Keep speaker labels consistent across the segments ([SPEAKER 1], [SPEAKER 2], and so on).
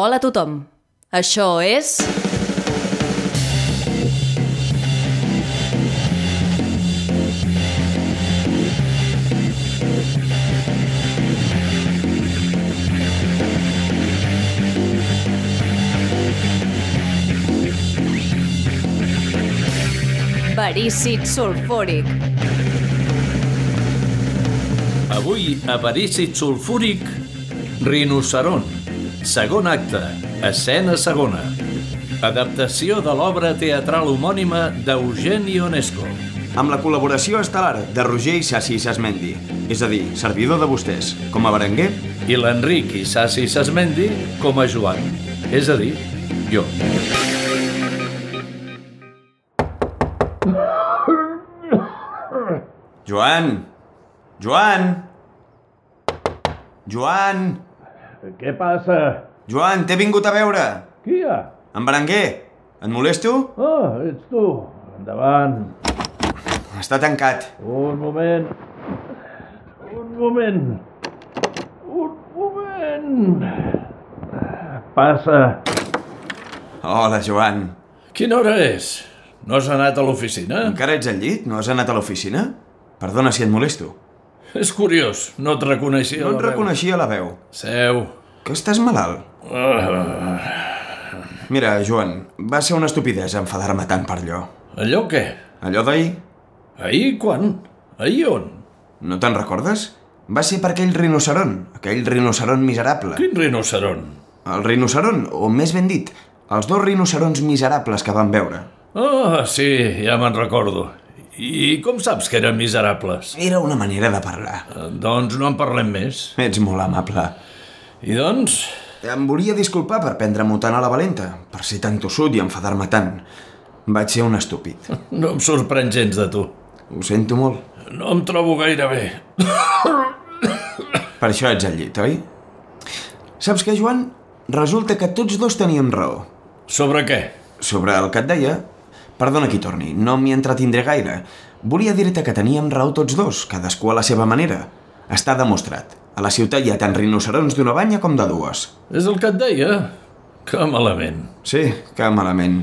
[SPEAKER 1] Hola a tothom. Això és... Verícid sulfúric.
[SPEAKER 2] Avui, avarícid sulfúric, rinoceront. Segon acte, escena segona. Adaptació de l'obra teatral homònima d'Eugeni Ionesco.
[SPEAKER 3] Amb la col·laboració estel·lar de Roger Issassi Sasmendi, és a dir, servidor de vostès, com a Berenguer,
[SPEAKER 2] I l'Enric Isassi Sasmendi com a Joan, és a dir, jo.
[SPEAKER 3] Joan! Joan! Joan!
[SPEAKER 4] Què passa?
[SPEAKER 3] Joan, t'he vingut a veure!
[SPEAKER 4] Qui hi ha?
[SPEAKER 3] En Berenguer, et molesto?
[SPEAKER 4] Ah, ets tu. Endavant.
[SPEAKER 3] Està tancat.
[SPEAKER 4] Un moment. Un moment. Un moment. Passa.
[SPEAKER 3] Hola, Joan.
[SPEAKER 2] Quina hora és? No has anat a l'oficina?
[SPEAKER 3] Encara ets al llit? No has anat a l'oficina? Perdona si et molesto.
[SPEAKER 2] És curiós, no et reconeixia
[SPEAKER 3] No et reconeixia la veu.
[SPEAKER 2] Seu.
[SPEAKER 3] Que estàs malalt? Ah. Mira, Joan, va ser una estupidesa enfadar-me tant per allò.
[SPEAKER 2] Allò què?
[SPEAKER 3] Allò d'ahir,
[SPEAKER 2] Ahir quan? Ahir on?
[SPEAKER 3] no te'n recordes? Va ser per aquell rinoceront, aquell rinoceront miserable.
[SPEAKER 2] Quin rinoceront?
[SPEAKER 3] El rinoceront, o més ben dit, els dos rinocerons miserables que vam veure.
[SPEAKER 2] Ah, sí, ja me'n recordo. I com saps que eren miserables?
[SPEAKER 3] Era una manera de parlar.
[SPEAKER 2] Eh, Doncs no en parlem més.
[SPEAKER 3] Ets molt amable.
[SPEAKER 2] I doncs,
[SPEAKER 3] Em volia disculpar per prendre-m'ho tant a la valenta, per ser tan tossut i enfadar-me tant. Vaig ser un estúpid.
[SPEAKER 2] no em sorprèn gens de tu.
[SPEAKER 3] Ho sento molt.
[SPEAKER 2] No em trobo gaire bé.
[SPEAKER 3] Per això ets al llit, oi? Saps què, Joan? Resulta que tots dos teníem raó.
[SPEAKER 2] Sobre què?
[SPEAKER 3] Sobre el que et deia... Perdona qui torni, no m'hi entretindré gaire. Volia dir-te que teníem raó tots dos, cadascú a la seva manera. Està demostrat. A la ciutat hi ha tant rinocerons d'una banya com de dues.
[SPEAKER 2] És el que et deia? Que malament.
[SPEAKER 3] Sí, que malament.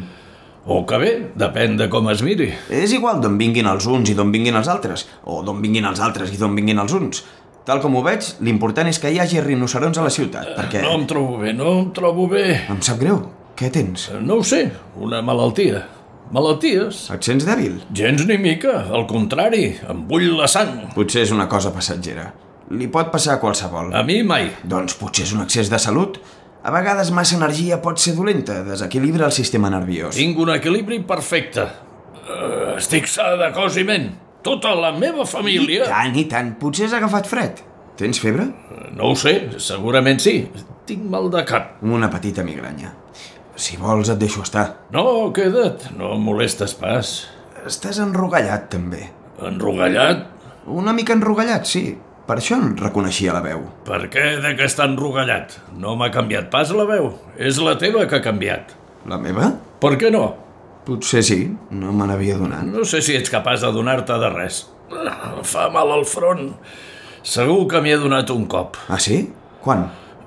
[SPEAKER 2] O que bé, depèn de com es miri.
[SPEAKER 3] És igual d'on vinguin els uns i d'on vinguin els altres, o d'on vinguin els altres i d'on vinguin els uns. Tal com ho veig, l'important és que hi hagi rinocerons a la ciutat, perquè...
[SPEAKER 2] No em trobo bé, no em trobo bé.
[SPEAKER 3] Em sap greu. Què tens?
[SPEAKER 2] Eh, No ho sé, una malaltia. Malalties?
[SPEAKER 3] Et sents dèbil?
[SPEAKER 2] Gens ni mica, al contrari, em bull la sang.
[SPEAKER 3] Potser és una cosa passatgera. Li pot passar a qualsevol.
[SPEAKER 2] A mi mai.
[SPEAKER 3] Doncs potser és un excés de salut. A vegades massa energia pot ser dolenta, desequilibra el sistema nerviós.
[SPEAKER 2] Tinc un equilibri perfecte. Uh, estic sa de cos i ment. Tota la meva
[SPEAKER 3] I
[SPEAKER 2] família...
[SPEAKER 3] tant, i tant. Potser has agafat fred. Tens febre?
[SPEAKER 2] No ho sé, segurament sí. Tinc mal de cap.
[SPEAKER 3] Una petita migranya. Si vols et deixo estar.
[SPEAKER 2] No, queda't, no em molestes pas.
[SPEAKER 3] Estàs enrogallat, també.
[SPEAKER 2] Enrogallat?
[SPEAKER 3] Una mica enrogallat, sí. Per això em reconeixia la veu.
[SPEAKER 2] Per què de que està enrogallat? No m'ha canviat pas la veu. És la teva que ha canviat.
[SPEAKER 3] La meva?
[SPEAKER 2] Per què no?
[SPEAKER 3] Potser sí, no me n'havia donat.
[SPEAKER 2] No sé si ets capaç de donar-te de res. Ah, Fa mal al front. Segur que m'hi he donat un cop.
[SPEAKER 3] Ah, sí? Quan?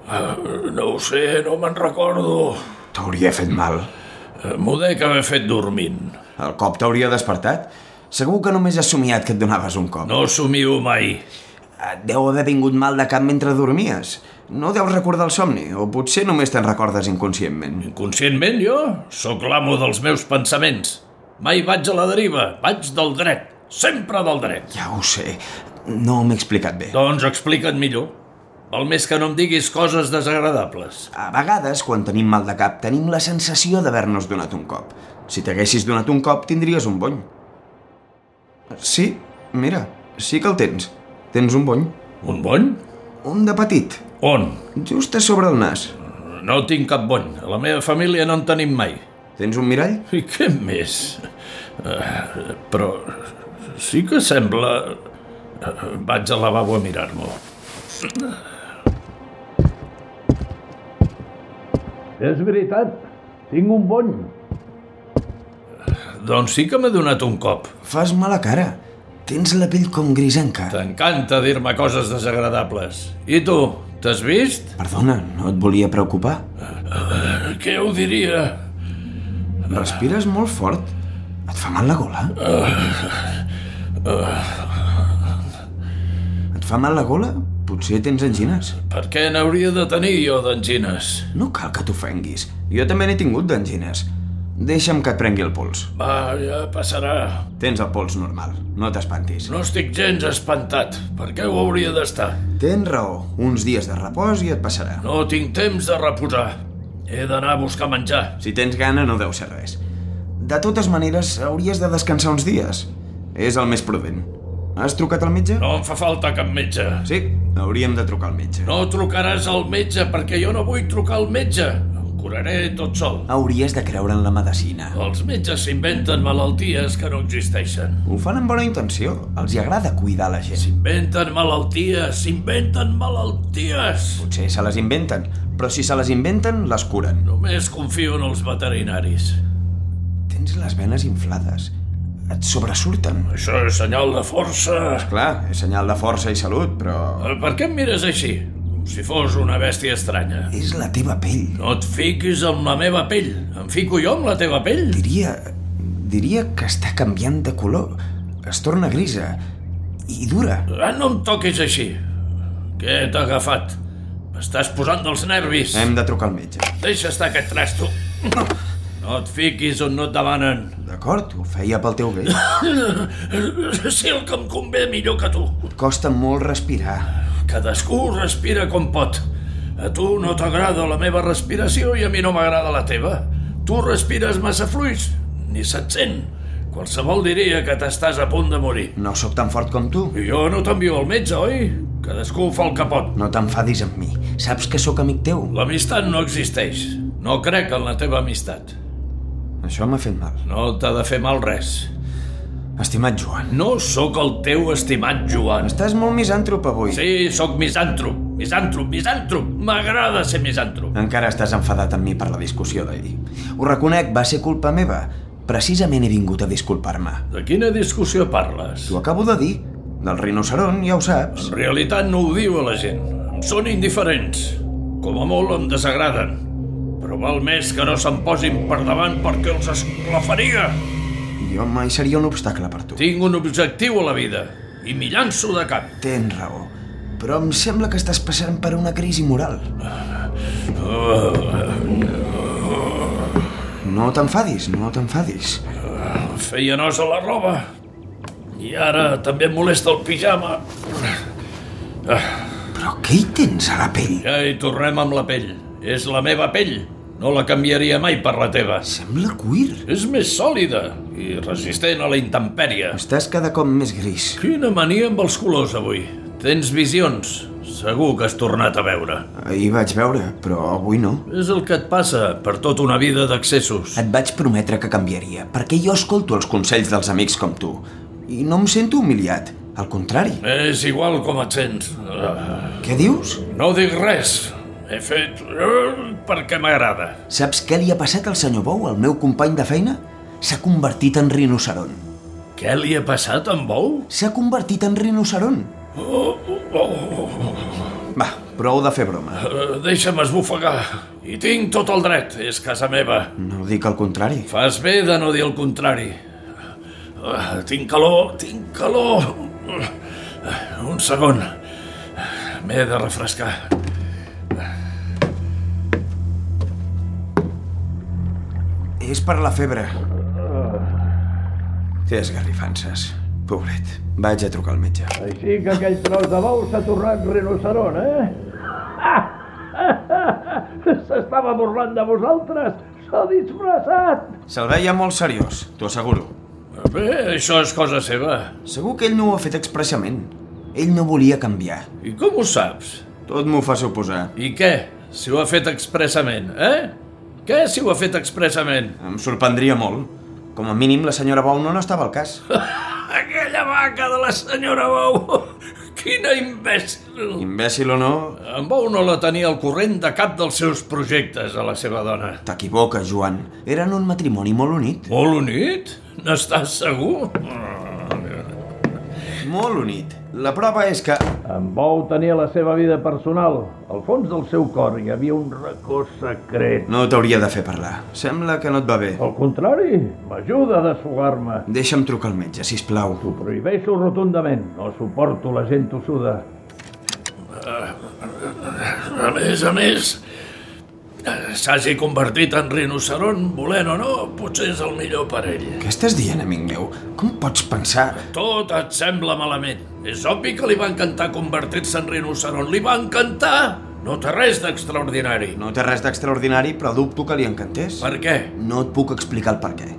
[SPEAKER 2] Ah, No ho sé, no me'n recordo.
[SPEAKER 3] T'hauria fet mal.
[SPEAKER 2] Eh, M'ho dec haver fet dormint.
[SPEAKER 3] El cop t'hauria despertat? Segur que només has somiat que et donaves un cop.
[SPEAKER 2] No somio mai.
[SPEAKER 3] Et Eh, deu haver vingut mal de cap mentre dormies. No deus recordar el somni, o potser només te'n recordes inconscientment.
[SPEAKER 2] Inconscientment, jo sóc l'amo dels meus pensaments. Mai vaig a la deriva, vaig del dret, sempre del dret.
[SPEAKER 3] Ja ho sé, no m'he explicat bé.
[SPEAKER 2] Doncs explica't millor. Val més que no em diguis coses desagradables.
[SPEAKER 3] A vegades, quan tenim mal de cap, tenim la sensació d'haver-nos donat un cop. Si t'haguessis donat un cop, tindries un bony. Sí, mira, sí que el tens. Tens un bony.
[SPEAKER 2] Un bony?
[SPEAKER 3] Un de petit,
[SPEAKER 2] On?
[SPEAKER 3] just a sobre el nas.
[SPEAKER 2] No tinc cap bony. A la meva família no en tenim mai.
[SPEAKER 3] Tens un mirall?
[SPEAKER 2] I què més? Eh, però sí que sembla... Eh, Vaig al lavabo a mirar-m'ho.
[SPEAKER 4] És veritat. Tinc un bony.
[SPEAKER 2] Doncs sí que m'he donat un cop.
[SPEAKER 3] Fas mala cara. Tens la pell com grisenca.
[SPEAKER 2] T'encanta dir-me coses desagradables. I tu, T'has vist?
[SPEAKER 3] Perdona, no et volia preocupar.
[SPEAKER 2] Què ho diria?
[SPEAKER 3] Respires molt fort. Et fa mal la gola? Et fa mal la gola? Potser tens angines.
[SPEAKER 2] Per què n'hauria de tenir jo d'angines?
[SPEAKER 3] No cal que t'ofenguis. Jo també n'he tingut d'angines. Deixa'm que et prengui el pols.
[SPEAKER 2] Va, ja passarà.
[SPEAKER 3] Tens el pols normal, no t'espantis.
[SPEAKER 2] No estic gens espantat. Per què ho hauria d'estar?
[SPEAKER 3] Tens raó, uns dies de repòs i et passarà.
[SPEAKER 2] No tinc temps de reposar. He d'anar a buscar menjar.
[SPEAKER 3] Si tens gana no deu ser res. De totes maneres, hauries de descansar uns dies. És el més prudent. Has trucat al metge?
[SPEAKER 2] No em fa falta cap metge.
[SPEAKER 3] Sí, hauríem de trucar al metge.
[SPEAKER 2] No trucaràs al metge perquè jo no vull trucar al metge. Em curaré tot sol.
[SPEAKER 3] Hauries de creure en la medicina.
[SPEAKER 2] Els metges s'inventen malalties que no existeixen.
[SPEAKER 3] Ho fan amb bona intenció. Els hi agrada cuidar la gent.
[SPEAKER 2] Inventen malalties, s'inventen malalties.
[SPEAKER 3] Potser se les inventen, però si se les inventen, les curen.
[SPEAKER 2] Només confio en els veterinaris.
[SPEAKER 3] Tens les venes inflades. Et sobresurten.
[SPEAKER 2] Això és senyal de força.
[SPEAKER 3] Clar, és senyal de força i salut, però...
[SPEAKER 2] Eh, Per què em mires així? Com si fos una bèstia estranya.
[SPEAKER 3] És la teva pell.
[SPEAKER 2] No et fiquis amb la meva pell. Em fico jo amb la teva pell?
[SPEAKER 3] Diria... diria que està canviant de color. Es torna grisa. I dura.
[SPEAKER 2] Ah, no em toquis així. Què t'ha agafat? M'estàs posant dels nervis.
[SPEAKER 3] Hem de trucar al metge.
[SPEAKER 2] Deixa estar aquest trasto. No et fiquis on no et demanen.
[SPEAKER 3] D'acord, ho feia pel teu bé.
[SPEAKER 2] Sé el que em convé millor que tu.
[SPEAKER 3] Costa molt respirar.
[SPEAKER 2] Cadascú respira com pot. A tu no t'agrada la meva respiració i a mi no m'agrada la teva. Tu respires massa fluix, ni se't sent. Qualsevol diria que t'estàs a punt de morir.
[SPEAKER 3] No sóc tan fort com tu.
[SPEAKER 2] I jo no t'envio al metge, oi? Cadascú fa el que pot.
[SPEAKER 3] No t'enfadis amb mi. Saps que sóc amic teu.
[SPEAKER 2] L'amistat no existeix. No crec en la teva amistat.
[SPEAKER 3] Això m'ha fet mal.
[SPEAKER 2] No t'ha de fer mal res.
[SPEAKER 3] Estimat Joan,
[SPEAKER 2] No sóc el teu estimat Joan.
[SPEAKER 3] estàs molt misàntrop avui.
[SPEAKER 2] Sí, sóc misàntrop, misàntrop, misàntrop. M'agrada ser misàntrop.
[SPEAKER 3] Encara estàs enfadat amb mi per la discussió d'ahir. Ho reconec, va ser culpa meva. Precisament he vingut a disculpar-me.
[SPEAKER 2] De quina discussió parles?
[SPEAKER 3] T'ho acabo de dir. Del rinoceron, ja ho saps.
[SPEAKER 2] En realitat no ho diu a la gent. Em són indiferents. Com a molt em desagraden. Però val més que no se'n posin per davant perquè els esclafaria.
[SPEAKER 3] Jo mai seria un obstacle per tu.
[SPEAKER 2] Tinc un objectiu a la vida i m'hi llanço de cap.
[SPEAKER 3] Tens raó. Però em sembla que estàs passant per una crisi moral. No t'enfadis, no t'enfadis.
[SPEAKER 2] Feia nos a la roba. I ara també em molesta el pijama.
[SPEAKER 3] Però què hi tens a la pell?
[SPEAKER 2] Ja hi tornem amb la pell. És la meva pell. No la canviaria mai per la teva.
[SPEAKER 3] Sembla cuir.
[SPEAKER 2] És més sòlida i resistent a la intempèrie.
[SPEAKER 3] Estàs cada cop més gris.
[SPEAKER 2] Quina mania amb els colors avui. Tens visions. Segur que has tornat a veure.
[SPEAKER 3] Ahir vaig veure, però avui no.
[SPEAKER 2] És el que et passa per tota una vida d'accessos.
[SPEAKER 3] Et vaig prometre que canviaria, perquè jo escolto els consells dels amics com tu. I no em sento humiliat, al contrari.
[SPEAKER 2] És igual com et sents. Ah,
[SPEAKER 3] Què dius?
[SPEAKER 2] No dic res. He fet ah, perquè m'agrada.
[SPEAKER 3] Saps què li ha passat al senyor Bou, al meu company de feina? S'ha convertit en rinoceron.
[SPEAKER 2] Què li ha passat a en Bou?
[SPEAKER 3] S'ha convertit en rinoceron.
[SPEAKER 2] Oh, oh, oh.
[SPEAKER 3] Va, prou de fer broma.
[SPEAKER 2] Eh, Deixa'm esbufegar. I tinc tot el dret. És casa meva.
[SPEAKER 3] No dic el contrari.
[SPEAKER 2] Fas bé de no dir el contrari. Ah, Tinc calor, tinc calor. Eh, Un segon. M'he de refrescar.
[SPEAKER 3] És per la febre. Té esgarrifances. Pobret. Vaig a trucar al metge.
[SPEAKER 4] Així que aquell tros de bou s'ha tornat rinoceron, eh? S'estava burlant de vosaltres! S'ha disfressat!
[SPEAKER 3] Se'l veia molt seriós, t'ho asseguro.
[SPEAKER 2] Bé, això és cosa seva.
[SPEAKER 3] Segur que ell no ho ha fet expressament. Ell no volia canviar.
[SPEAKER 2] I com ho saps?
[SPEAKER 3] Tot m'ho fa suposar.
[SPEAKER 2] I què, si ho ha fet expressament, eh? Què si ho ha fet expressament?
[SPEAKER 3] Em sorprendria molt. Com a mínim, la senyora Bauno no estava al cas.
[SPEAKER 2] Aquella vaca de la senyora Bou! Quina imbècil!
[SPEAKER 3] Imbècil o no,
[SPEAKER 2] En Bou no la tenia al corrent de cap dels seus projectes a la seva dona.
[SPEAKER 3] t'equivoques, Joan. Eren un matrimoni molt unit.
[SPEAKER 2] Molt unit? N'estàs segur?
[SPEAKER 3] Molt unit. La prova és que...
[SPEAKER 4] En Bou tenia la seva vida personal. Al fons del seu cor hi havia un racó secret.
[SPEAKER 3] No t'hauria de fer parlar. Sembla que no et va bé.
[SPEAKER 4] Al contrari, m'ajuda a desfogar-me.
[SPEAKER 3] Deixa'm trucar al metge, si plau.
[SPEAKER 4] T'ho prohibeixo rotundament. No suporto la gent tossuda.
[SPEAKER 2] A més a més, eh, s'hagi convertit en rinoceron, volent o no, potser és el millor per ell.
[SPEAKER 3] Què estàs dient, amic meu? Com pots pensar?
[SPEAKER 2] Tot et sembla malament. És obvi que li va encantar convertir-se en rinoceron. Li va encantar! No té res d'extraordinari.
[SPEAKER 3] No té res d'extraordinari, però dubto que li encantés.
[SPEAKER 2] Per què?
[SPEAKER 3] No et puc explicar el per què.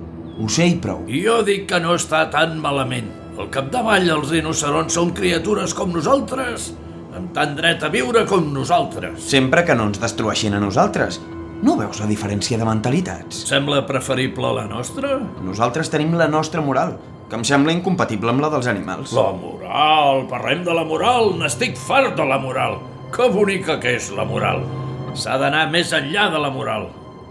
[SPEAKER 3] Ho sé i prou.
[SPEAKER 2] Jo dic que no està tan malament. Al capdavall, els rinocerons són criatures com nosaltres, amb tant dret a viure com nosaltres.
[SPEAKER 3] Sempre que no ens destrueixin a nosaltres. No veus la diferència de mentalitats?
[SPEAKER 2] Sembla preferible la nostra?
[SPEAKER 3] Nosaltres tenim la nostra moral, que em sembla incompatible amb la dels animals.
[SPEAKER 2] La moral, parlem de la moral, n'estic fart de la moral. Que bonica que és la moral. S'ha d'anar més enllà de la moral.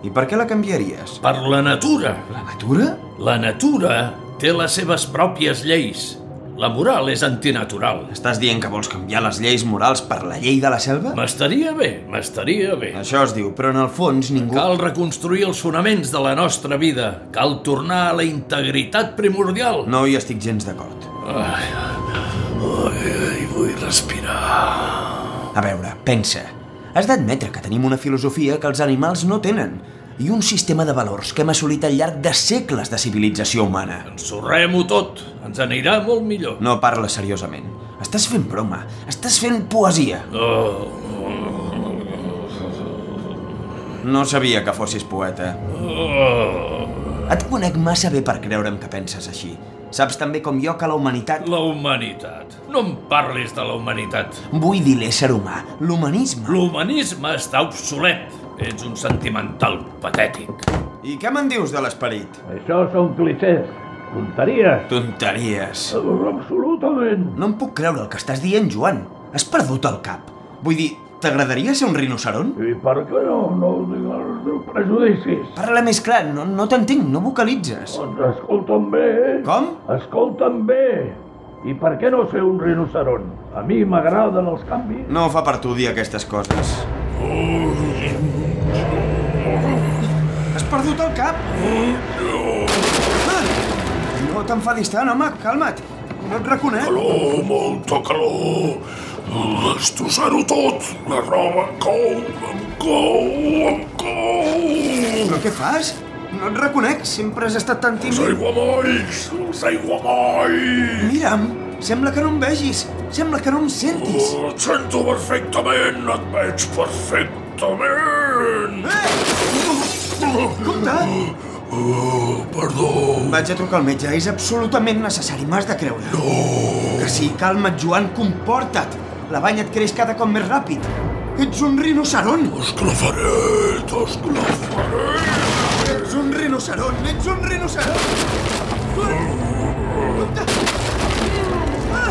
[SPEAKER 3] I per què la canviaries?
[SPEAKER 2] Per la natura.
[SPEAKER 3] La natura?
[SPEAKER 2] La natura té les seves pròpies lleis. La moral és antinatural.
[SPEAKER 3] Estàs dient que vols canviar les lleis morals per la llei de la selva?
[SPEAKER 2] M'estaria bé, m'estaria bé.
[SPEAKER 3] Això es diu, però en el fons ningú...
[SPEAKER 2] Cal reconstruir els fonaments de la nostra vida. Cal tornar a la integritat primordial.
[SPEAKER 3] No hi estic gens d'acord.
[SPEAKER 2] Ai, vull respirar.
[SPEAKER 3] A veure, pensa. Has d'admetre que tenim una filosofia que els animals no tenen i un sistema de valors que hem assolit al llarg de segles de civilització humana.
[SPEAKER 2] Ensorrem-ho tot. Ens anirà molt millor.
[SPEAKER 3] No parla seriosament. Estàs fent broma. Estàs fent poesia.
[SPEAKER 2] Oh,
[SPEAKER 3] No sabia que fossis poeta.
[SPEAKER 2] Oh,
[SPEAKER 3] Et conec massa bé per creure'm que penses així. Saps també com jo que la humanitat...
[SPEAKER 2] la humanitat. No em parlis de la humanitat.
[SPEAKER 3] Vull dir l'ésser humà, l'humanisme.
[SPEAKER 2] L'humanisme està obsolet. Ets un sentimental patètic.
[SPEAKER 3] I què me'n dius de l'esperit?
[SPEAKER 4] Això són clichés. Tonteries.
[SPEAKER 3] Tonteries.
[SPEAKER 4] Absolutament.
[SPEAKER 3] No em puc creure el que estàs dient, Joan. Has perdut el cap. Vull dir, t'agradaria ser un rinoceron?
[SPEAKER 4] I per què no? No digues els teus prejudicis.
[SPEAKER 3] Parla més clar, no, no t'entenc, no vocalitzes.
[SPEAKER 4] Doncs escolta'm bé. eh?
[SPEAKER 3] Com?
[SPEAKER 4] Escolta'm bé. I per què no ser un rinoceron? A mi m'agraden els canvis.
[SPEAKER 3] No fa per tu dir aquestes coses. Has perdut el cap? No. No t'enfadis tant, home, calma't. No et reconec.
[SPEAKER 2] Calor, molta calor. Destrossar-ho tot. La roba em cou, em cou, em cou.
[SPEAKER 3] Però què fas? No et reconec, sempre has estat tan tímid.
[SPEAKER 2] aiguamolls, els aiguamolls.
[SPEAKER 3] Mira'm, sembla que no em vegis, sembla que no em sentis.
[SPEAKER 2] Et sento perfectament, et veig perfectament.
[SPEAKER 3] Compte!
[SPEAKER 2] Oh, perdó.
[SPEAKER 3] Vaig a trucar al metge, és absolutament necessari, m'has de creure. No! Que sí, calma't, Joan, comporta't. La banya et creix cada cop més ràpid. Ets un rinoceron.
[SPEAKER 2] Esclafaré, t'esclafaré.
[SPEAKER 3] Ets un rinoceron, ets un rinoceron! Compte! Ah!